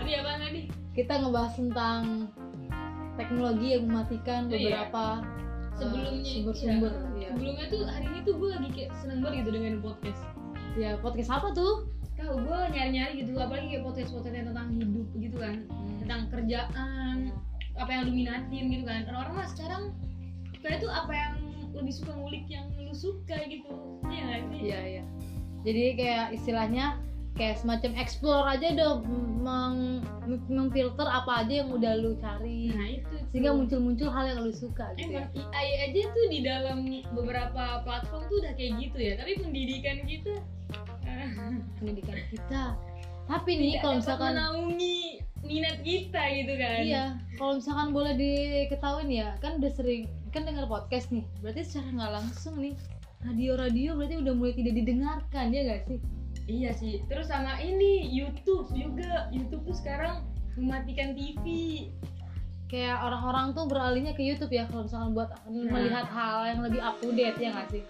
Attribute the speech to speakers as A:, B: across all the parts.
A: Tadi apa tadi?
B: Nah, Kita ngebahas tentang teknologi yang mematikan
A: Iya.
B: beberapa eh,
A: Sebelumnya
B: sumber-sumber.
A: iya.
B: Iya.
A: Sebelumnya tuh hari ini tuh gue lagi kayak seneng banget gitu dengan podcast.
B: Ya, podcast apa tuh?
A: Tahu gue nyari-nyari gitu apalagi kayak podcast-podcast yang tentang hidup gitu kan. Tentang kerjaan, apa yang lu minatin gitu kan. Orang-orang mah sekarang kayak tuh apa yang lebih suka ngulik yang lu suka gitu. Iya nggak sih?
B: Iya, iya. Jadi kayak istilahnya kayak semacam explore aja dong meng- memfilter apa aja yang udah lu cari
A: Nah, itu
B: sehingga
A: tuh.
B: muncul-muncul hal yang lu suka gitu.
A: Emang
B: ya.
A: AI aja tuh di dalam beberapa platform tuh udah kayak gitu ya, tapi pendidikan kita eh,
B: Pendidikan kita. Tapi nih
A: tidak
B: kalau
A: dapat
B: misalkan
A: menaungi minat kita gitu kan.
B: Iya, kalau misalkan boleh diketahuin ya, kan udah sering kan dengar podcast nih. Berarti secara nggak langsung nih radio-radio berarti udah mulai tidak didengarkan ya gak sih?
A: Iya sih. Terus sama ini YouTube juga. YouTube tuh sekarang mematikan TV.
B: Kayak orang-orang tuh beralihnya ke YouTube ya kalau misalkan buat melihat hal yang lebih up to date ya gak sih?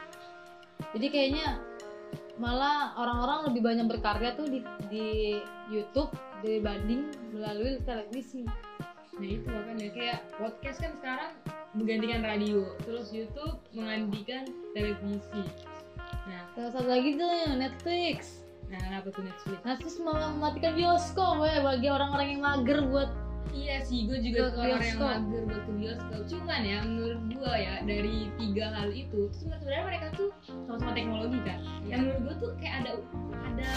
B: Jadi kayaknya malah orang-orang lebih banyak berkarya tuh di, di YouTube dibanding melalui televisi.
A: Nah itu makanya kayak podcast kan sekarang menggantikan radio, terus YouTube menggantikan televisi. Nah,
B: Terus satu lagi tuh yang Netflix.
A: nah apa tuh Netflix?
B: Netflix mau mematikan bioskop ya bagi orang-orang yang mager buat
A: Iya sih, gue
B: Ke
A: juga tuh orang yang
B: bioskop.
A: mager buat ke bioskop. Cuman ya menurut gue ya dari tiga hal itu tuh sebenarnya- sebenarnya mereka tuh sama-sama teknologi kan. Yang menurut gue tuh kayak ada ada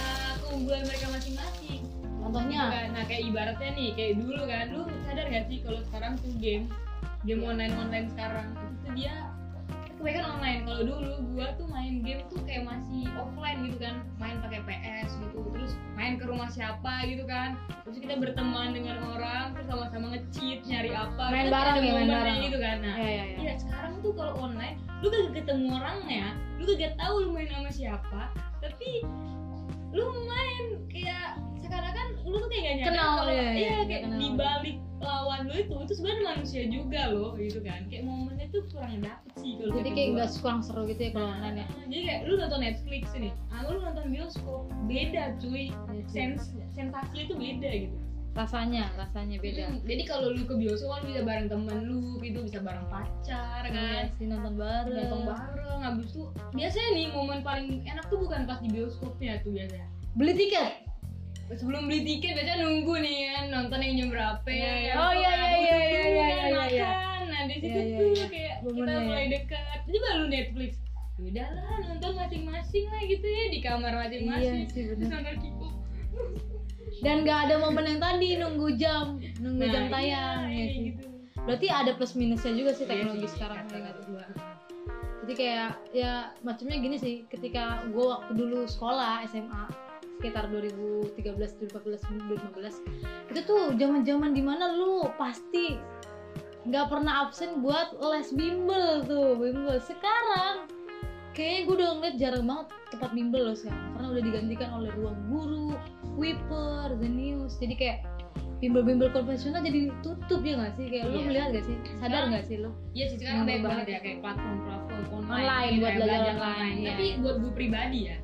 A: keunggulan mereka masing-masing.
B: Contohnya
A: Gitu kan. Nah kayak ibaratnya nih kayak dulu kan, lu sadar gak sih kalau sekarang tuh game game
B: Iya.
A: online online sekarang itu tuh dia kebanyakan online. Kalau dulu gue tuh main game tuh kayak masih offline gitu kan, main pakai PS gitu, terus main ke rumah siapa gitu kan terus kita berteman dengan orang terus sama-sama nge-cheat nyari apa
B: Main
A: Terus
B: bareng ya,
A: ada
B: main
A: momennya
B: bareng.
A: gitu kan nah
B: ya, ya, ya.
A: iya sekarang tuh kalau online lu kagak ketemu orangnya lu kagak tahu lu main sama siapa tapi lu main kayak seakan-akan lu tuh kayak gak nyadar
B: Kenal,
A: kalau
B: iya, iya,
A: iya
B: iya,
A: kayak
B: kenal.
A: di balik lawan lu itu itu sebenarnya manusia juga loh gitu kan kayak momennya tuh kurang dapet sih kalau
B: Jadi
A: kata
B: kayak
A: gua. Nah,
B: nggak kurang seru gitu ya kalau online ya.
A: jadi kayak lu nonton Netflix ini sama lu nonton bioskop beda cuy
B: Iya sih.
A: Sens sensasi itu beda gitu
B: Rasanya, rasanya beda.
A: Hmm, jadi kalau lu ke bioskop kan bisa bareng temen lu gitu bisa bareng pacar
B: Iya
A: kan
B: sih nonton bareng.
A: nonton bareng habis itu biasanya nih momen paling enak tuh bukan pas di bioskopnya tuh biasanya
B: Beli tiket.
A: sebelum beli tiket biasanya nunggu nih kan nonton yang jam berapa
B: Iya, iya.
A: habis
B: Oh,
A: itu
B: iya,
A: kan
B: iya,
A: habis
B: iya,
A: itu
B: iya,
A: kan
B: iya, iya.
A: makan nah di situ
B: Iya, iya,
A: tuh
B: iya.
A: kayak kita
B: Momennya,
A: mulai
B: ya.
A: dekat jadi baru Netflix Ya udahlah nonton masing-masing lah gitu ya di kamar
B: Iya
A: masing-masing
B: sih
A: terus
B: benar.
A: nonton K-pop.
B: Dan nggak ada momen yang tadi nunggu jam, nunggu
A: Nah,
B: jam
A: iya,
B: tayang. ya
A: kayak
B: sih.
A: gitu.
B: Berarti ada plus minusnya juga sih
A: Iya
B: teknologi
A: sih,
B: sekarang.
A: kata
B: ya nggak sih?
A: gua.
B: Jadi kayak ya macamnya gini sih. Ketika gue waktu dulu sekolah SMA sekitar 2013 2014 2015 itu tuh zaman-zaman dimana lu pasti nggak pernah absen buat les bimbel tuh bimbel sekarang kayaknya gue udah ngeliat jarang banget tempat bimbel loh sekarang karena udah digantikan oleh ruang guru wiper the news jadi kayak bimbel-bimbel konvensional jadi tutup ya nggak sih kayak lu
A: Iya.
B: melihat gak sih sadar
A: Sekarang-
B: nggak sih lu
A: Iya sih sekarang
B: Nambah
A: banyak banget
B: banget.
A: ya kayak platform-platform
B: gitu.
A: online,
B: Online,
A: gitu
B: buat
A: ya,
B: belajar
A: belajar
B: online,
A: online.
B: iya.
A: Tapi buat gue pribadi ya,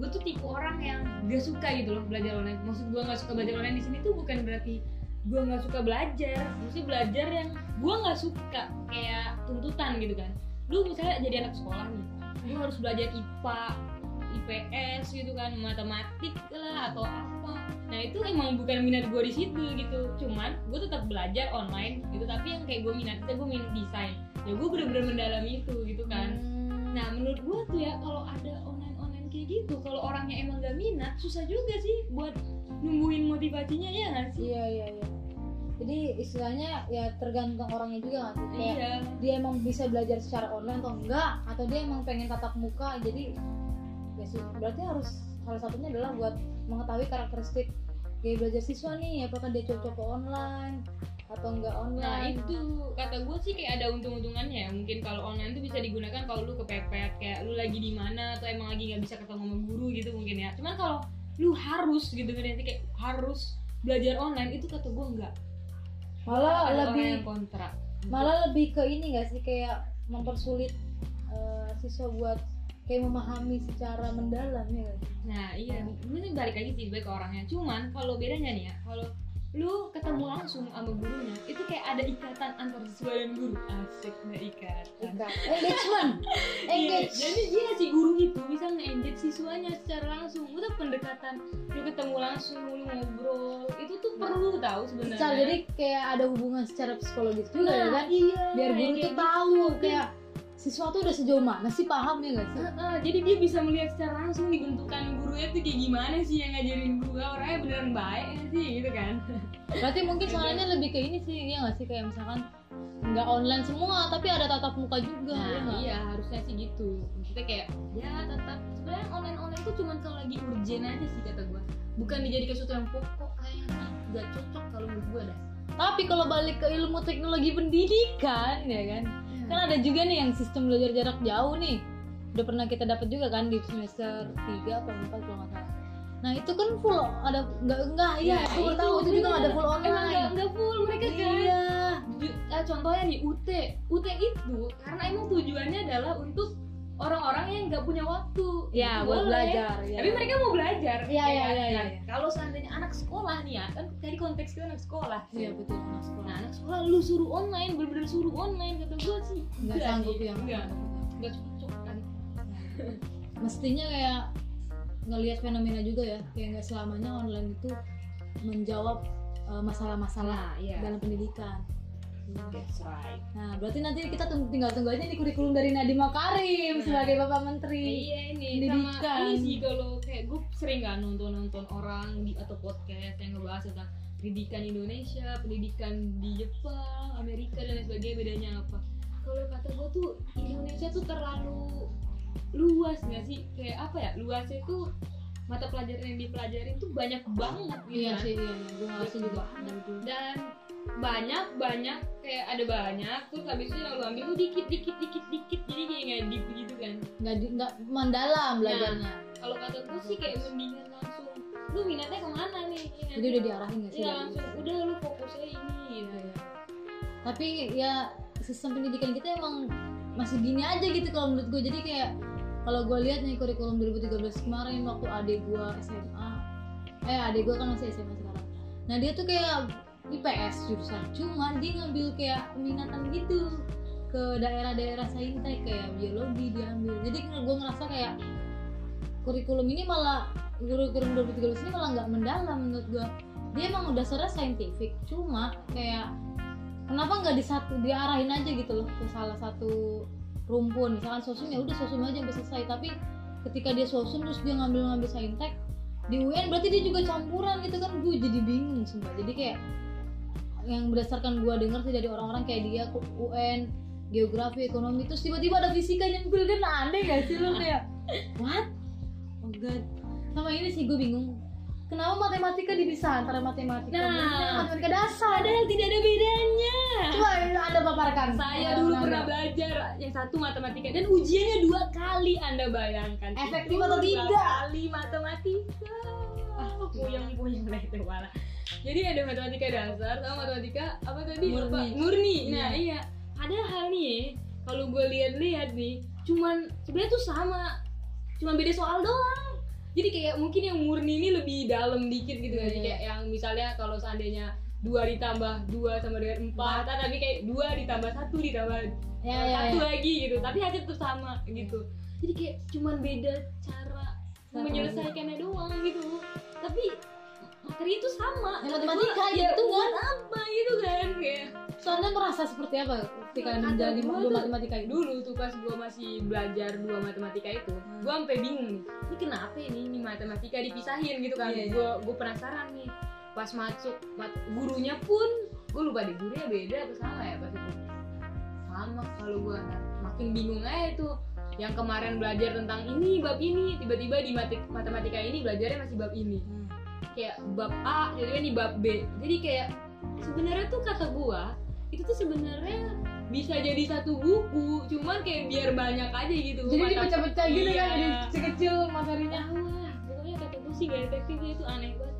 A: gue tuh tipe orang yang gak suka gitu loh belajar online. Maksud gue gak suka belajar online di sini tuh bukan berarti gue gak suka belajar, mesti belajar yang gue gak suka kayak tuntutan gitu kan. Lu misalnya jadi anak sekolah nih, lu harus belajar IPA, IPS gitu kan, matematik lah atau apa. Nah itu emang bukan minat gue di situ gitu. Cuman gue tetap belajar online gitu, tapi yang kayak gue minat itu gue minat desain ya gue bener-bener mendalami itu gitu kan
B: Hmm.
A: nah menurut gue tuh ya kalau ada online online kayak gitu kalau orangnya emang gak minat susah juga sih buat numbuhin motivasinya ya nggak sih
B: iya iya iya jadi istilahnya ya tergantung orangnya juga nggak sih kayak
A: iya
B: dia emang bisa belajar secara online atau enggak atau dia emang pengen tatap muka jadi ya sih, berarti harus salah satunya adalah buat mengetahui karakteristik gaya belajar siswa nih apakah dia cocok ke online atau enggak
A: nah
B: online
A: itu kata gue sih kayak ada untung-untungannya ya mungkin kalau online tuh bisa digunakan kalau lu kepepet kayak lu lagi di mana atau emang lagi nggak bisa ketemu sama guru gitu mungkin ya cuman kalau lu harus gitu kan nanti kayak harus belajar online itu kata gue enggak
B: malah
A: ada
B: Oh, lebih
A: orang yang kontra
B: malah lebih ke ini enggak sih kayak mempersulit eh, siswa buat kayak memahami secara mendalam ya nggak sih?
A: iya. Nah iya, ini balik lagi sih gue ke orangnya. Cuman kalau bedanya nih ya, kalau lu ketemu langsung sama gurunya itu kayak ada ikatan antar siswa dan guru asik nggak ikatan
B: Eh, Engagement.
A: Iya,
B: Engage.
A: jadi dia si guru itu bisa nge-engage siswanya secara langsung itu pendekatan lu ketemu langsung lu ngobrol itu tuh perlu tahu sebenarnya
B: Secara- jadi kayak ada hubungan secara psikologis juga ya
A: Nah,
B: kan.
A: iya,
B: Biar guru
A: kayak
B: tuh
A: gitu.
B: tahu kayak siswa tuh udah sejauh mana sih pahamnya gak sih?
A: Heeh, jadi dia bisa melihat secara langsung nih bentukan gurunya tuh kayak gimana sih yang ngajarin gua orangnya beneran baik nggak sih gitu kan
B: Berarti mungkin soalnya
A: gitu.
B: lebih ke ini sih, ya nggak sih kayak misalkan nggak online semua, tapi ada tatap muka juga. ya
A: Nah,
B: nggak?
A: iya harusnya sih gitu. Kita kayak ya tetap sebenarnya online online itu cuma kalau lagi urgent aja sih kata gua. Bukan dijadikan sesuatu yang pokok kayaknya nggak cocok kalau menurut gua dah.
B: Tapi kalau balik ke ilmu teknologi pendidikan, ya kan,
A: Iya.
B: kan ada juga nih yang sistem belajar jarak jauh nih. Udah pernah kita dapat juga kan di semester 3 atau 4 kalau nggak salah. Nah itu kan full ada nggak nggak iya,
A: Ya,
B: aku baru tahu itu juga nggak ada full
A: Emang nggak
B: online.
A: nggak full mereka kan.
B: Iya.
A: Ju- eh, contohnya nih UT, UT itu karena emang tujuannya adalah untuk orang-orang yang nggak punya waktu.
B: Ya
A: Itu
B: buat
A: boleh.
B: belajar. ya.
A: Tapi mereka mau belajar.
B: Iya, iya,
A: kan?
B: iya, iya,
A: Nah,
B: iya.
A: Kalau seandainya anak sekolah nih ya, kan tadi konteks kita anak sekolah.
B: Iya betul anak sekolah.
A: Nah, anak sekolah lu suruh online, bener-bener suruh online kata gue sih.
B: Nggak sanggup ya.
A: sih,
B: yang
A: Enggak, enggak cocok kan.
B: mestinya kayak ngelihat fenomena juga ya kayak nggak selamanya online itu menjawab eh, masalah-masalah
A: iya.
B: dalam pendidikan
A: That's right.
B: nah berarti nanti kita tunggu- tinggal tunggu aja nih kurikulum dari Nadiem Makarim
A: Nah.
B: sebagai bapak menteri
A: Iya ini sama
B: Pendidikan.
A: ini sih kalau kayak gue sering kan nonton-nonton orang di atau podcast yang ngebahas tentang pendidikan Indonesia, pendidikan di Jepang, Amerika dan lain sebagainya bedanya apa. Kalau kata gue tuh Indonesia tuh terlalu luas nggak sih? Kayak apa ya? Luasnya tuh mata pelajaran yang dipelajarin tuh banyak banget gitu kan.
B: sih iya gue ngerasa juga
A: dan banyak banyak kayak ada banyak terus habis itu yang lu ambil tuh dikit dikit dikit dikit jadi kayak nggak deep gitu kan
B: nggak di- nggak
A: Iya.
B: mendalam belajarnya
A: kalau kata gue sih kayak mendingan langsung lu minatnya kemana nih ya kan?
B: jadi udah diarahin nggak sih
A: Iya,
B: dari-
A: langsung udah lu fokusnya ini gitu ya
B: tapi ya sistem pendidikan kita emang masih gini aja gitu kalau menurut gue jadi kayak kalau gue lihat nih kurikulum 2013 kemarin waktu adik gue SMA eh adik gue kan masih SMA sekarang nah dia tuh kayak IPS jurusan cuman dia ngambil kayak peminatan gitu ke daerah-daerah saintek kayak biologi diambil jadi gue ngerasa kayak kurikulum ini malah kurikulum 2013 ini malah nggak mendalam menurut gue dia emang udah secara saintifik cuma kayak kenapa nggak di satu diarahin aja gitu loh ke salah satu rumpun misalkan sosum ya udah sosum aja sampai selesai tapi ketika dia sosum terus dia ngambil ngambil saintek di UN berarti dia juga campuran gitu kan gue jadi bingung sumpah jadi kayak yang berdasarkan gue denger sih dari orang-orang kayak dia ku- UN geografi ekonomi terus tiba-tiba ada fisika yang gue kan aneh gak sih lo kayak what oh god sama ini sih gue bingung kenapa matematika dipisah antara matematika
A: Nah.
B: umum dan matematika dasar
A: padahal tidak ada bedanya
B: Coba Anda paparkan.
A: saya dulu
B: iya,
A: pernah belajar yang satu matematika dan ujiannya dua kali anda bayangkan
B: Efektif
A: Itu
B: atau
A: dua
B: tidak?
A: kali matematika
B: Ah,
A: puyeng puyeng lah itu malah jadi ada matematika dasar sama matematika apa tadi
B: Murni.
A: Lupa. murni nah
B: Iya.
A: iya padahal nih ya, kalau gue lihat-lihat nih cuman sebenarnya tuh sama cuman beda soal doang jadi kayak mungkin yang murni ini lebih dalam dikit gitu kan
B: Iya.
A: kayak yang misalnya kalau seandainya dua ditambah dua sama dengan empat tapi kayak dua ditambah satu ditambah
B: Ya, ya,
A: satu
B: ya.
A: lagi gitu tapi hasil tuh sama gitu jadi kayak cuman beda cara
B: Cara
A: menyelesaikannya doang gitu tapi materi itu sama
B: Ya, matematika
A: Gua, ya,
B: gitu kan.
A: buat apa gitu kan kayak
B: Soalnya merasa seperti apa ketika
A: Ada
B: menjadi
A: gua
B: guru
A: tuh-
B: matematika itu?
A: dulu tuh pas gue masih belajar dua matematika itu
B: Hmm.
A: gue sampai bingung nih ini kenapa ini, ini matematika dipisahin gitu kan
B: Iya, iya.
A: gue gue penasaran nih pas masuk mat- gurunya pun gue lupa deh gurunya beda apa sama ya pas itu sama kalau gue makin bingung aja tuh yang kemarin belajar tentang ini bab ini tiba-tiba di mate- matematika ini belajarnya masih bab ini
B: Hmm.
A: kayak bab A jadi kan di bab B jadi kayak sebenarnya tuh kata gua itu tuh sebenarnya bisa jadi satu buku cuman kayak biar banyak aja gitu
B: Jadi
A: Mata-
B: dipecah-pecah gitu
A: Iya.
B: kan jadi kecil-kecil materinya.
A: Wah, pokoknya kata gua sih gak efektif ya, itu aneh banget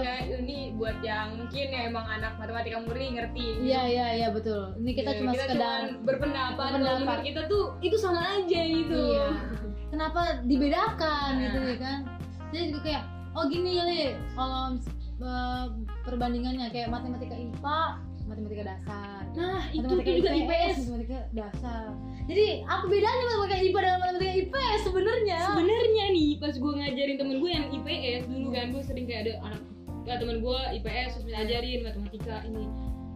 B: Oh.
A: ya ini buat yang mungkin ya emang anak matematika murni ngerti
B: Iya, iya, iya betul. Ini kita
A: Ya,
B: cuma sekedar
A: cuman berpendapat, kalau
B: berpendapat.
A: menurut kita tuh itu sama aja gitu
B: Iya. Kenapa dibedakan
A: Nah.
B: Iya. gitu ya kan? Jadi juga kayak oh gini kali ya, kalau mis- eh, perbandingannya kayak matematika IPA matematika dasar
A: nah itu
B: matematika
A: tuh juga IPS
B: matematika dasar jadi apa bedanya matematika IPA dengan matematika IPS sebenarnya
A: sebenarnya nih pas gue ngajarin temen gue yang IPS dulu kan gue sering kayak ada anak gak temen gue IPS
B: Iya.
A: terus minta ajarin matematika ini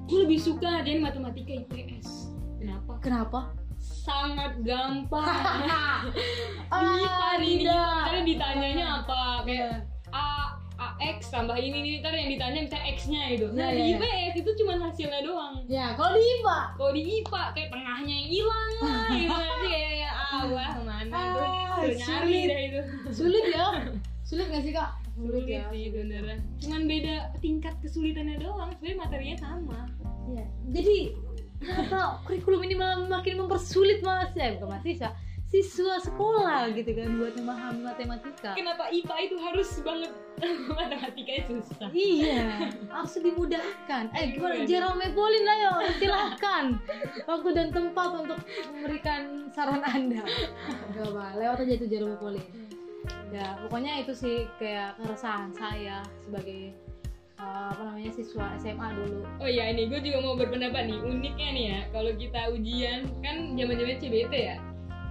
A: gue lebih suka ngajarin matematika IPS kenapa
B: kenapa
A: sangat gampang
B: Ah,
A: Dipan ini
B: tidak.
A: Ntar ditanyanya apa kayak
B: Iya.
A: a AX tambah ini nih ntar yang ditanya misalnya X-nya gitu
B: Iya,
A: nah di
B: iya.
A: IPS itu cuma hasilnya doang
B: ya kalau di IPA
A: kalau di IPA kayak tengahnya yang hilang lah gitu nanti kayak ya ah wah kemana tuh
B: Ah,
A: Udah nyari
B: sulit.
A: dah itu
B: sulit ya sulit ya, gak sih kak
A: sulit sih beneran cuman beda tingkat kesulitannya doang sebenarnya materinya sama
B: Iya. Jadi kenapa kurikulum ini malah makin mempersulit mas ya bukan mahasiswa siswa sekolah gitu kan buat memahami matematika.
A: kenapa IPA itu harus banget matematikanya susah
B: Iya, harus dimudahkan. Eh gimana
A: Gimana?
B: Jerome Pauline ayo silahkan waktu dan tempat untuk memberikan saran anda. Gak apa, lewat aja itu Jerome Pauline. Ya pokoknya itu sih kayak keresahan saya sebagai eh, apa namanya siswa SMA dulu.
A: Oh iya ini gue juga mau berpendapat nih uniknya nih ya kalau kita ujian kan zaman zaman CBT ya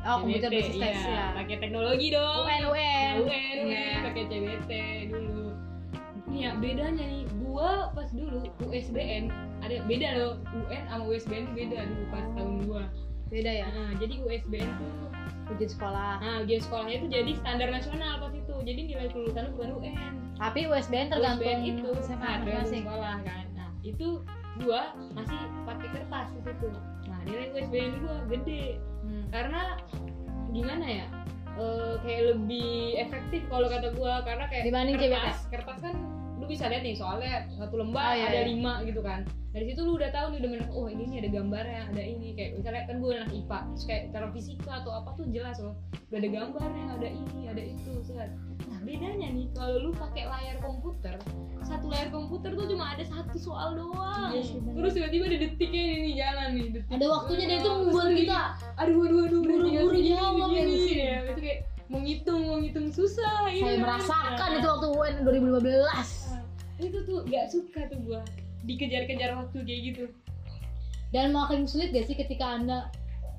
B: Oh komputer
A: CBT,
B: basis test
A: iya. Oh,
B: ya.
A: pakai teknologi dong
B: UN UN.
A: UN
B: Iya.
A: pakai CBT dulu Nih ya bedanya nih gua pas dulu USBN ada beda loh UN sama USBN tuh beda dulu pas
B: Oh.
A: tahun gua
B: Beda ya.
A: nah, jadi USBN tuh
B: ujian sekolah
A: nah ujian sekolahnya tuh jadi standar nasional pas itu jadi nilai kelulusan lu bukan UN
B: tapi USBN tergantung
A: USBN itu
B: SMA
A: nah, tergantung
B: masing-masing
A: sekolah kan nah itu gua masih pakai kertas di situ nah nilai USBN gua gede
B: Hmm.
A: karena gimana ya eh, kayak lebih efektif kalau kata gua karena kayak
B: Dibanding
A: kertas kertas kan lu bisa lihat nih soalnya satu
B: Oh,
A: lembar
B: iya,
A: ada
B: iya.
A: lima gitu kan dari situ lu udah tahu nih udah bener oh ini nih ada gambarnya ada ini kayak misalnya kan gua anak IPA terus kayak cara fisika atau apa tuh jelas loh udah ada gambarnya ada ini ada itu set. nah bedanya nih kalau lu pakai layar komputer satu layar komputer tuh cuma ada satu soal doang
B: Iya sih, bener.
A: terus tiba-tiba ada detiknya ini nih, jalan nih detik.
B: ada waktunya dan itu
A: Terus
B: membuat
A: lu
B: kita
A: aduh aduh aduh
B: Buru-buru
A: gini,
B: jawab
A: gini,
B: yang
A: gini,
B: isi.
A: ya. itu kayak menghitung menghitung susah
B: saya
A: gitu.
B: merasakan
A: Nah,
B: itu waktu UN 2015
A: itu tuh gak suka tuh gua dikejar-kejar waktu kayak gitu
B: dan makin sulit gak sih ketika anda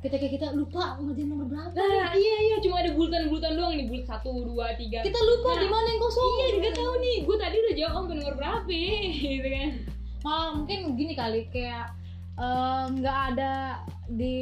B: ketika kita lupa ngerjain nomor berapa
A: nah iya iya cuma ada bulatan-bulatan doang nih bulat satu dua tiga
B: kita lupa
A: Nah,
B: di mana yang kosong
A: iya nggak tahu nih gua tadi udah jawab om nomor berapa gitu kan
B: malah mungkin gini kali kayak eh, nggak ada di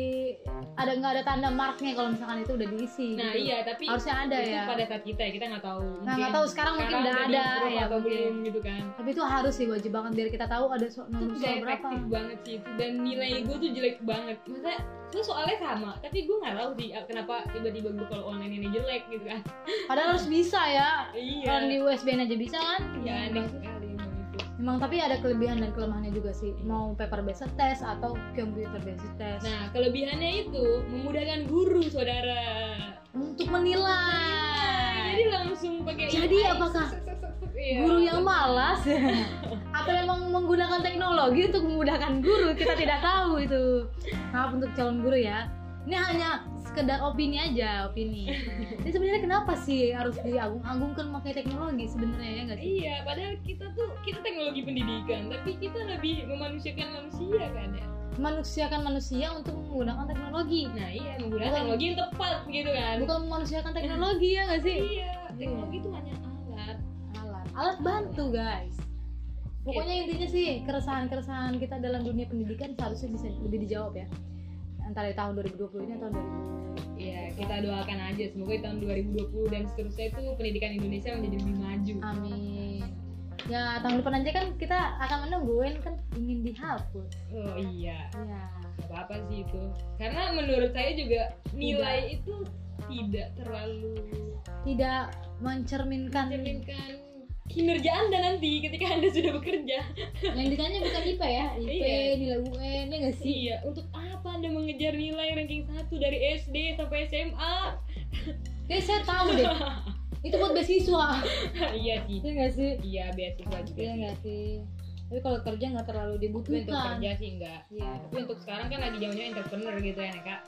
B: ada nggak ada tanda marknya kalau misalkan itu udah diisi
A: nah
B: gitu.
A: iya tapi
B: harusnya ada
A: itu
B: ya
A: pada saat kita ya kita nggak tahu
B: Nah, nggak tahu. Sekarang mungkin udah ada,
A: di-improve
B: ya,
A: atau
B: mungkin.
A: belum gitu kan
B: tapi itu harus sih wajib banget biar kita tahu ada so
A: itu
B: nomor
A: gak
B: soal berapa
A: efektif banget sih itu dan nilai gue tuh jelek banget masa itu soalnya sama tapi gue nggak tahu sih ah, kenapa tiba-tiba gue kalau online ini jelek gitu kan
B: padahal harus bisa ya
A: iya
B: Kalau di USBN aja bisa kan?
A: ya aneh sekali emang itu
B: Memang tapi ada kelebihan dan kelemahannya juga sih. Mau paper based test atau computer based test.
A: nah kelebihannya itu memudahkan guru saudara
B: Untuk
A: Nah,
B: menilai.
A: jadi langsung pakai
B: Jadi
A: AI,
B: apakah
A: sek, sek, sek, sek, iya.
B: Guru yang malas atau memang menggunakan teknologi untuk memudahkan guru kita tidak tahu itu. Maaf untuk calon guru ya. Ini hanya sekedar opini aja, opini. Ini sebenarnya kenapa sih harus diagung-agungkan pakai teknologi sebenarnya ya nggak sih?
A: iya padahal kita tuh kita teknologi pendidikan tapi kita lebih memanusiakan manusia kan ya
B: Manusiakan manusia untuk menggunakan teknologi.
A: nah iya menggunakan
B: Bukan-
A: teknologi yang tepat gitu kan
B: Bukan memanusiakan teknologi ya nggak sih?
A: iya teknologi itu hanya alat
B: alat alat bantu guys pokoknya intinya sih keresahan keresahan kita dalam dunia pendidikan seharusnya bisa lebih dijawab ya antara di tahun 2020 ini atau tahun
A: Ya, kita doakan aja semoga di tahun 2020 dan seterusnya itu pendidikan Indonesia menjadi lebih maju.
B: 2020 amin ya tahun depan aja kan kita akan menungguin kan ingin dihapus
A: Oh iya,
B: ya
A: gak apa-apa sih itu. Karena menurut saya juga nilai itu tidak terlalu
B: tidak mencerminkan
A: mencerminkan kinerja Anda nanti ketika Anda sudah bekerja.
B: yang ditanya bukan IPA ya IP
A: Iya.
B: nilai UN ya nggak sih
A: Iya, untuk apa Anda mengejar nilai ranking 1 dari SD sampai SMA?
B: kayak Ya, saya tahu deh itu buat beasiswa
A: iya sih.
B: ya nggak sih
A: Iya, beasiswa juga.
B: ya nggak sih tapi kalau kerja nggak terlalu
A: Tapi untuk
B: dibutuhkan
A: kerja sih enggak.
B: Iya.
A: Tapi untuk sekarang kan lagi zamannya entrepreneur gitu ya, Kak.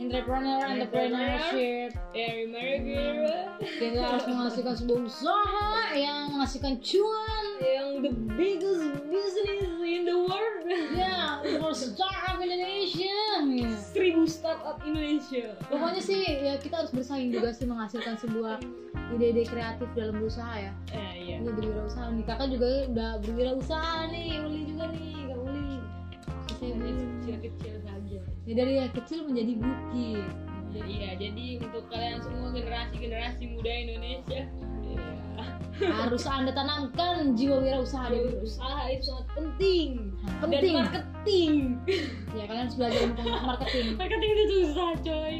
B: entrepreneur, entrepreneurship,
A: Dari Margaret
B: kita harus menghasilkan sebuah usaha yang menghasilkan cuan.
A: yang the biggest business in the world
B: Ya, for startup Indonesia. Ya.
A: seribu startup Indonesia
B: Pokoknya sih ya kita harus bersaing juga sih menghasilkan sebuah ide-ide kreatif dalam berusaha ya.
A: eh iya
B: Ini berwirausaha nih. Kakak juga udah berwirausaha nih, Uli juga nih, Kak Uli. Maksudnya Uli.
A: kecil-kecil saja
B: Ya, dari yang kecil menjadi bukit.
A: jadi ya jadi untuk kalian semua generasi generasi muda Indonesia ya,
B: Harus Anda tanamkan jiwa wirausaha di diri.
A: usaha itu sangat penting
B: Penting.
A: dan marketing
B: Ya, kalian harus belajar tentang marketing.
A: marketing itu susah coy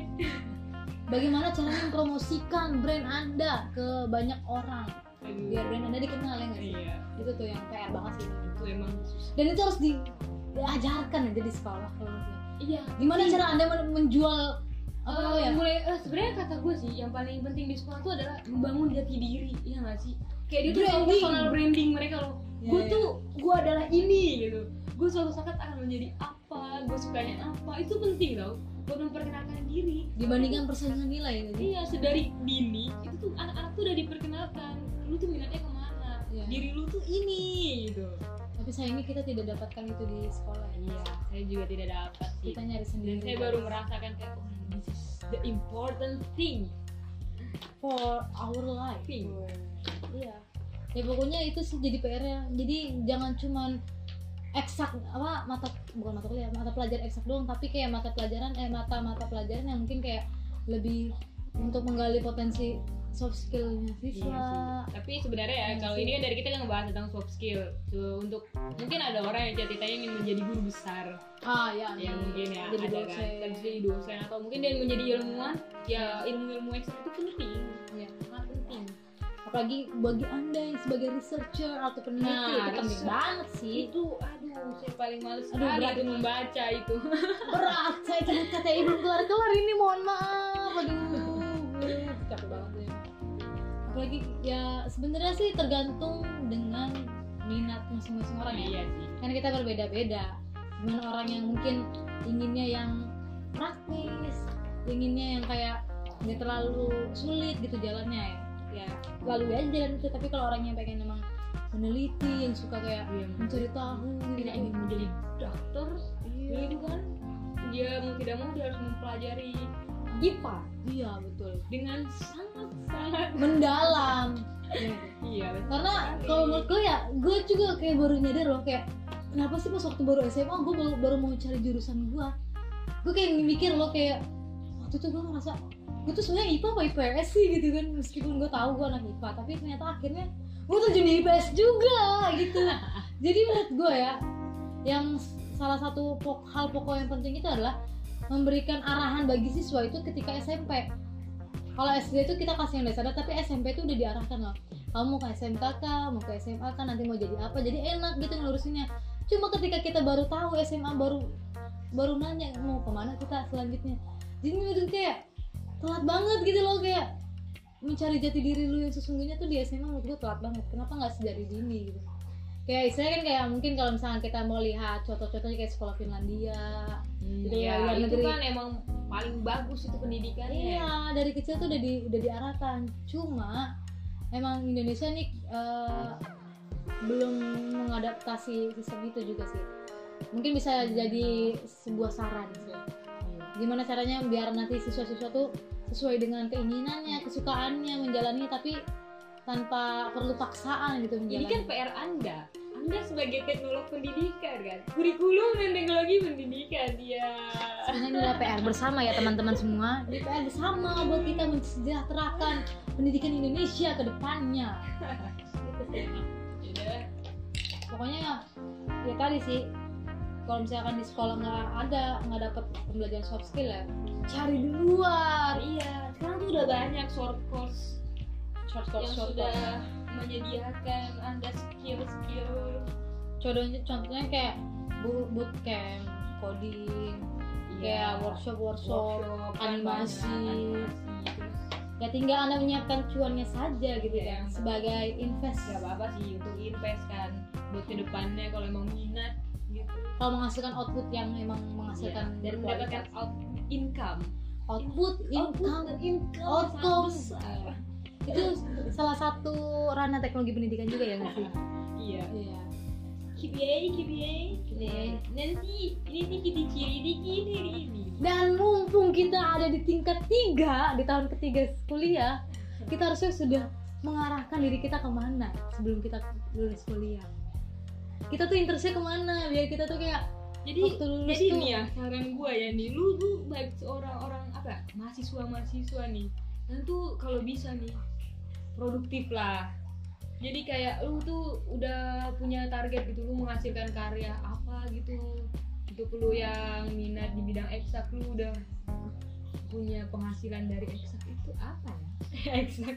B: Bagaimana caranya mempromosikan brand Anda ke banyak orang
A: Aduh.
B: biar brand Anda dikenal ya nggak sih?
A: iya
B: Itu tuh yang PR banget sih.
A: itu emang susah
B: Dan itu harus di- diajarkan aja di sekolah kalau menurut gue.
A: iya
B: Gimana cara Anda men- menjual apa
A: Oh,
B: namanya?
A: mulai eh, sebenarnya kata gue sih yang paling penting di sekolah tuh adalah membangun jati diri ya nggak sih kayak dia tuh tahu
B: Branding.
A: personal branding mereka loh
B: Iya,
A: gue
B: iya.
A: tuh gue adalah ini gitu gue suatu saat akan menjadi apa gue sukanya apa itu penting tau buat memperkenalkan diri
B: Dibandingkan persaingan nilai ya nggak sih?
A: iya sedari dini itu tuh anak-anak tuh udah diperkenalkan lu tuh minatnya kemana
B: Iya.
A: diri lu tuh ini gitu
B: Tapi sayangnya kita tidak dapatkan itu di sekolah. ya.
A: iya saya juga tidak dapat sih
B: Kita nyari
A: dan
B: sendiri.
A: saya baru merasakan kayak oh this is the important thing
B: for our life.
A: Thing.
B: Iya. Ya pokoknya itu sih jadi PR-nya. Jadi jangan cuman eksak apa mata bukan mata kuliah, mata pelajaran eksak doang, tapi kayak mata pelajaran eh mata-mata pelajaran yang mungkin kayak lebih untuk menggali potensi soft skill-nya
A: Iya
B: siswa.
A: sih. Tapi sebenarnya ya
B: Iya
A: kalau
B: sih.
A: ini kan dari kita kan ngebahas tentang soft skill. So, untuk mungkin ada orang yang cita-citanya ingin menjadi guru besar,
B: ah ya.
A: ya mungkin ya
B: Jadi
A: ada
B: dosen.
A: kan, Tapi jadi dosen atau mungkin dia menjadi ilmuwan, ya ilmu-ilmu ekstra itu penting,
B: Iya.
A: sangat penting.
B: Apalagi bagi Anda yang sebagai researcher atau peneliti
A: Nah,
B: itu penting
A: research.
B: banget sih.
A: Itu aduh saya paling males
B: Aduh,
A: sekali
B: berat.
A: itu membaca itu.
B: Berat saya kata KTI belum kelar-kelar ini mohon maaf. Aduh.
A: Capek banget ya.
B: apalagi ya sebenarnya sih tergantung dengan minat masing-masing orang ya
A: Iya sih.
B: kan kita berbeda-beda dengan orang yang mungkin inginnya yang praktis inginnya yang kayak nggak terlalu sulit gitu jalannya ya ya lalu aja jalan itu tapi kalau orang yang pengen emang meneliti yang suka kayak
A: Iya.
B: mencari tahu
A: Tidak ingin menjadi dokter, gitu kan? Dia mau tidak mau dia harus mempelajari IPA
B: iya betul
A: dengan sangat-sangat
B: mendalam Iya.
A: Iya, betul.
B: karena kalau menurut gue ya gue juga kayak baru nyadar loh kayak kenapa sih pas waktu baru SMA gue baru, baru mau cari jurusan gue gue kayak mikir loh kayak waktu itu gue ngerasa gue tuh sebenarnya IPA apa IPS sih gitu kan meskipun gue tahu gue anak IPA tapi ternyata akhirnya gue terjun di IPS juga gitu jadi menurut gue ya yang s- salah satu pok- hal pokok yang penting itu adalah memberikan arahan bagi siswa itu ketika SMP kalau SD itu kita kasih yang dasar tapi SMP itu udah diarahkan loh kamu mau ke SMKK mau ke SMA kan nanti mau jadi apa jadi enak gitu ngelurusinnya cuma ketika kita baru tahu SMA baru baru nanya mau kemana kita selanjutnya jadi menurut kayak telat banget gitu loh kayak mencari jati diri lu yang sesungguhnya tuh di SMA menurut gue telat banget kenapa nggak sedari dini gitu kayak istilahnya kan kayak mungkin kalau misalnya kita mau lihat contoh-contohnya kayak sekolah Finlandia
A: Hmm,
B: Gitu,
A: ya,
B: luar
A: itu
B: negeri.
A: kan emang paling bagus itu pendidikannya.
B: Iya, dari kecil tuh udah di udah diarahkan. Cuma emang Indonesia nih eh, belum mengadaptasi sistem itu juga sih. Mungkin bisa jadi sebuah saran sih. Gimana caranya biar nanti siswa-siswa tuh sesuai dengan
A: Iya.
B: keinginannya, kesukaannya menjalani tapi tanpa perlu paksaan gitu
A: Ini
B: menjalani.
A: kan PR Anda. Anda sebagai teknolog pendidikan kan. Kurikulum dan teknologi pendidikan iya. dia.
B: Sebenarnya ini adalah PR bersama ya teman-teman semua. Ini PR bersama buat kita mensejahterakan pendidikan Indonesia ke depannya. pokoknya ya, ya tadi sih kalau misalkan di sekolah nggak ada nggak dapat pembelajaran soft skill ya cari di luar
A: Iya, sekarang tuh udah banyak short course
B: short
A: yang sudah menyediakan Anda skill-skill.
B: contohnya contohnya kayak bu- bootcamp coding
A: Iya,
B: kayak workshop workshop
A: kan
B: animasi. ya tinggal anda menyiapkan cuannya saja gitu
A: Iya,
B: kan
A: yang-
B: sebagai invest ya,
A: Gak apa-apa sih untuk invest kan buat kedepannya kalau emang minat gitu. Iya,
B: kalau menghasilkan output yang memang menghasilkan
A: dan
B: berkualitas.
A: mendapatkan out income
B: output,
A: output
B: income,
A: dan income
B: outcome.
A: yang sangat besar.
B: itu salah satu ranah teknologi pendidikan juga ya nggak sih?
A: iya
B: Iya.
A: KPI KPI
B: KPI.
A: nanti ini nih kita ciri ini ini ini
B: Dan mumpung kita ada di tingkat tiga di tahun ketiga kuliah, kita harusnya sudah mengarahkan diri kita kemana sebelum kita lulus kuliah. Kita tuh interestnya kemana? Biar kita tuh kayak
A: jadi
B: waktu lulus
A: jadi
B: tuh
A: nih ya saran gue ya nih lu lu baik seorang-orang apa mahasiswa mahasiswa nih dan tuh kalau bisa nih produktif lah jadi kayak lu tuh udah punya target gitu lu menghasilkan karya apa gitu untuk lu yang minat di bidang eksak lu udah punya penghasilan dari eksak itu apa ya eksak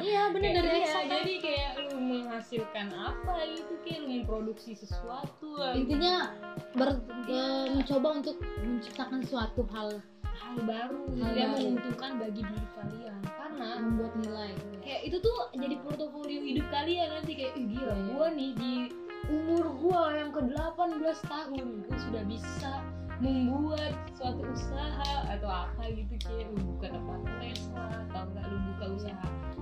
B: Iya bener dari
A: Iya,
B: eksak kan.
A: jadi kayak lu menghasilkan apa gitu kayak lu memproduksi sesuatu
B: Iya.
A: lah
B: Intinya ber- eh, mencoba untuk menciptakan suatu hal
A: hal baru
B: Hal
A: yang
B: baru.
A: menguntungkan bagi diri kalian karena
B: membuat nilai.
A: kayak itu tuh jadi portofolio hidup kalian nanti kayak "Ih, gila gua nih di umur gua yang ke 18 tahun gua sudah bisa membuat suatu usaha atau apa gitu kayak lu buka tempat les lah atau enggak lu buka usaha apa.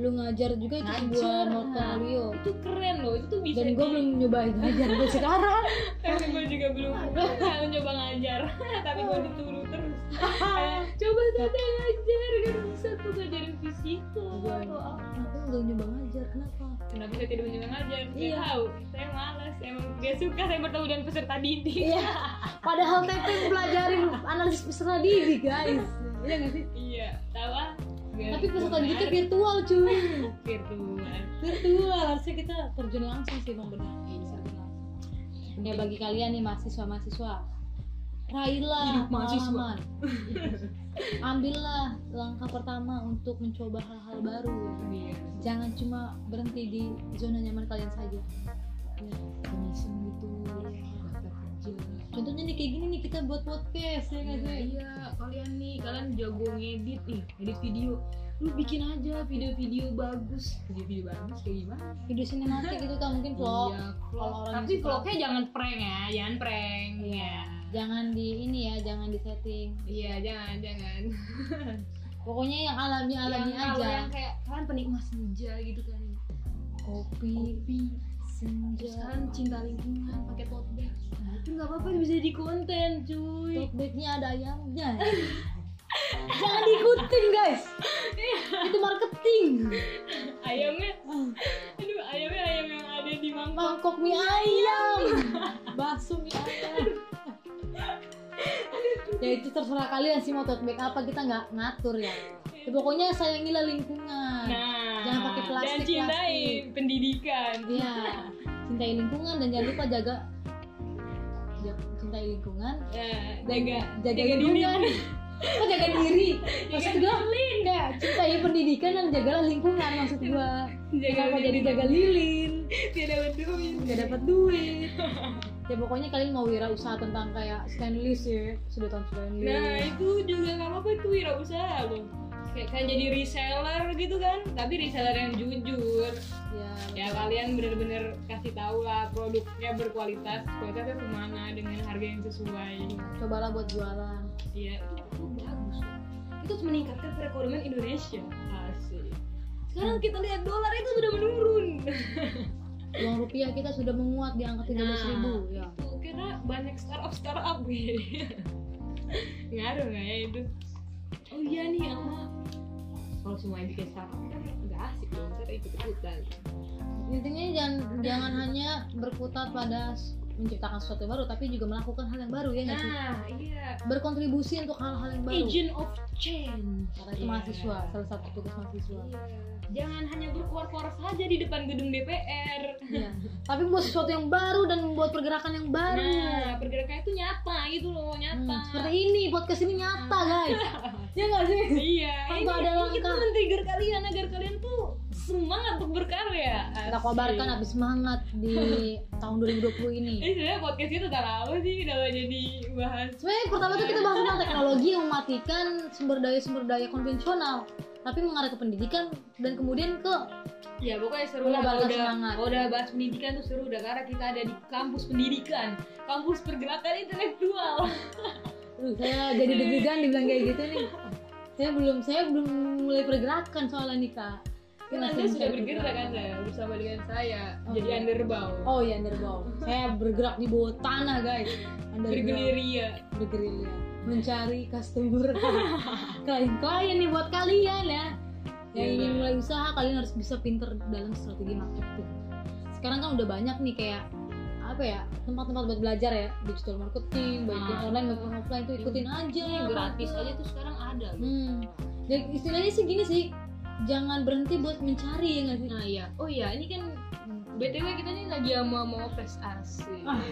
B: Lu ngajar juga itu
A: Ngajar,
B: sebuah
A: nah.
B: portfolio.
A: itu keren loh itu tuh bisa
B: Dan gue
A: di-
B: belum nyobain ngajar gue sekarang.
A: tapi gue juga belum belum nyoba ngajar tapi gue dituruh terus Eh, Kayak, coba tata ngajar kan bisa tuh ngajarin fisika ya
B: Iya.
A: atau apa.
B: Aku nggak nyoba ngajar kenapa?
A: kenapa saya tidak mencoba ngajar saya
B: Iya.
A: tahu saya malas emang gak suka saya bertemu dengan peserta didik
B: Iya. Padahal TP pelajarin analisis peserta didik guys. Iya nggak sih?
A: iya tahu ah Gak
B: Tapi peserta didiknya
A: benar. gitu,
B: virtual cuy.
A: virtual
B: Virtual harusnya kita terjun langsung sih bang benar.
A: Iya.
B: Ya bagi kalian nih mahasiswa mahasiswa, raihlah
A: Hidup mahasiswa.
B: pengalaman. Ambillah langkah pertama untuk mencoba hal-hal baru.
A: Iya.
B: Jangan cuma berhenti di zona nyaman kalian saja.
A: Commission gitu daftar kerja
B: Contohnya nih kayak gini nih kita buat podcast ya nggak
A: Iya,
B: sih?
A: iya, kalian nih, kalian jago ngedit nih, edit video. Lu bikin aja video-video bagus. Video-video bagus kayak gimana?
B: Video sinematik gitu kan mungkin vlog.
A: Iya,
B: Kalau
A: vlog.
B: orang
A: Tapi
B: yang suka-
A: vlognya jangan prank ya, jangan prank. Iya.
B: jangan di ini ya jangan di setting
A: Iya, jangan, jangan.
B: pokoknya yang alami alami
A: Yang kalau
B: Nah, aja
A: yang kayak kalian penikmat senja gitu kan.
B: kopi
A: Kopi, terus
B: senja
A: kalian cinta lingkungan pakai tote bag. Nah, itu nggak apa-apa bisa jadi konten, cuy.
B: tote bagnya ada ayamnya jangan diikutin guys itu marketing
A: Ayamnya, aduh, ayamnya ayam yang ada di mangkok.
B: mangkok mie ayam bakso mie ayam ya itu terserah kalian sih mau tote bag apa kita nggak ngatur ya Ya, pokoknya sayangilah lingkungan
A: Nah,
B: Jangan pakai plastik,
A: Dan cintai
B: plastik.
A: pendidikan.
B: Iya, cintai lingkungan dan jangan lupa jaga ja- cintai lingkungan
A: Nah, jaga
B: jaga
A: diri.
B: lingkungan. Kok jaga diri? Maksud gua enggak, cintai pendidikan dan jagalah lingkungan maksud gua.
A: Jaga
B: Kenapa jadi
A: diri.
B: jaga lilin?
A: Tidak berduit.
B: Gak dapat duit. Ya pokoknya kalian mau wirausaha tentang kayak stainless ya, sedotan
A: Nah,
B: stainless.
A: itu juga nggak apa-apa itu wirausaha loh. Kayak kan jadi reseller gitu kan, tapi reseller yang jujur.
B: Ya,
A: Ya kalian bener-bener kasih tahu lah produknya berkualitas, kualitasnya kemana dengan harga yang sesuai.
B: cobalah buat jualan.
A: Iya, itu, itu bagus. Itu meningkatkan perekonomian Indonesia. Asik. Sekarang kita lihat dolar itu sudah menurun.
B: Uang rupiah kita sudah menguat di angka 13.000 ribu. Ya.
A: Tuh, Nah, kira banyak startup startup gitu. Ngaruh nggak ya itu? Oh iya nih sama kalau semua bikin startup kan nggak asik dong, ntar ikut ikutan.
B: Intinya jangan jangan hanya berkutat pada s- menciptakan sesuatu yang baru, tapi juga melakukan hal yang baru ya. nggak sih?
A: Nah iya.
B: Berkontribusi untuk hal-hal yang baru.
A: Agent of change. Iya.
B: Karena itu mahasiswa, salah satu tugas mahasiswa.
A: Jangan hanya berkuar-kuar saja di depan gedung DPR.
B: Iya. Tapi membuat sesuatu yang baru dan membuat pergerakan yang baru.
A: Nah, pergerakannya itu nyata gitu loh,
B: Hmm,
A: nyata. Nah.
B: seperti ini podcast ini nyata guys. ya nggak sih?
A: Iya, ini,
B: Tanpa ada
A: ini kita
B: langkah.
A: men-trigger kalian agar kalian tuh semangat untuk berkarya.
B: Kita
A: Asik.
B: kabarkan habis semangat di tahun 2020 ini.
A: Ini sebenarnya podcast kita tentang apa sih? Kenapa jadi bahas?
B: Sebenarnya pertama tuh kita bahas tentang teknologi yang mematikan sumber daya sumber daya konvensional, tapi mengarah ke pendidikan dan kemudian ke
A: Ya pokoknya seru lah
B: Mengembangkan
A: kalau udah,
B: semangat.
A: kalau udah bahas pendidikan tuh seru udah karena kita ada di kampus pendidikan, kampus pergerakan intelektual.
B: saya jadi deg-degan dibilang kayak gitu nih saya belum saya belum mulai pergerakan soalnya nih kak Saya
A: Kan Anda
B: masih
A: sudah
B: mencari
A: bergerak
B: pergerakan.
A: Anda bersama dengan saya
B: Oh,
A: jadi
B: iya.
A: underbow.
B: oh ya underbow saya bergerak di bawah tanah guys underbow
A: Bergerilya.
B: bergerilya mencari customer klien-klien nih buat kalian ya yang
A: Iya.
B: ingin mulai usaha kalian harus bisa pinter dalam strategi marketing sekarang kan udah banyak nih kayak apa ya tempat-tempat buat belajar ya digital marketing baik yang
A: Ah.
B: online maupun offline tuh ikutin aja
A: Iya, gratis
B: mantep.
A: aja tuh sekarang ada. loh.
B: hmm. Dan istilahnya sih gini sih jangan berhenti buat mencari ya nggak sih
A: Nah, iya. Oh iya, ini kan BTW kita nih lagi sama mau flash asik.
B: Ah.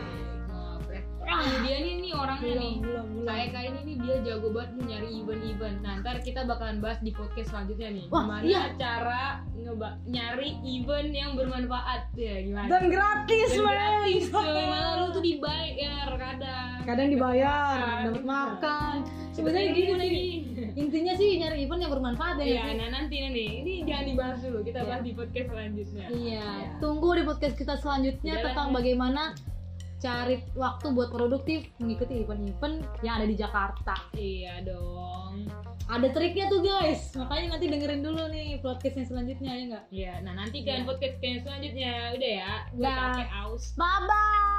A: Mau flash. Ini dia nih, nih orangnya nih.
B: Nah, belum
A: Kayak kan. kayak ini nih dia jago banget nih nyari event-event. Nah, ntar kita bakalan bahas di podcast selanjutnya nih.
B: Wah,
A: gimana
B: iya.
A: cara ngeba nyari event yang bermanfaat ya gimana?
B: dan gratis
A: Dan gratis
B: men.
A: cuy. malah lu tuh dibayar kadang.
B: kadang dibayar
A: Makan.
B: dapat makan sebenarnya
A: Ini
B: gini
A: gimana
B: sih intinya sih nyari event yang bermanfaat ya
A: Iya,
B: nggak sih?
A: nah nanti nanti ini jangan dibahas dulu, kita
B: Iya.
A: bahas di podcast selanjutnya.
B: iya
A: Iya.
B: tunggu di podcast kita selanjutnya
A: Jalan. ya.
B: tentang bagaimana cari waktu buat produktif mengikuti event-event yang ada di Jakarta
A: Iya dong.
B: ada triknya tuh guys makanya nanti dengerin dulu nih podcastnya selanjutnya ya nggak
A: Iya, nah nanti
B: Iya.
A: kan podcast selanjutnya udah ya. Gue
B: Dah.
A: pakai aus.
B: bye bye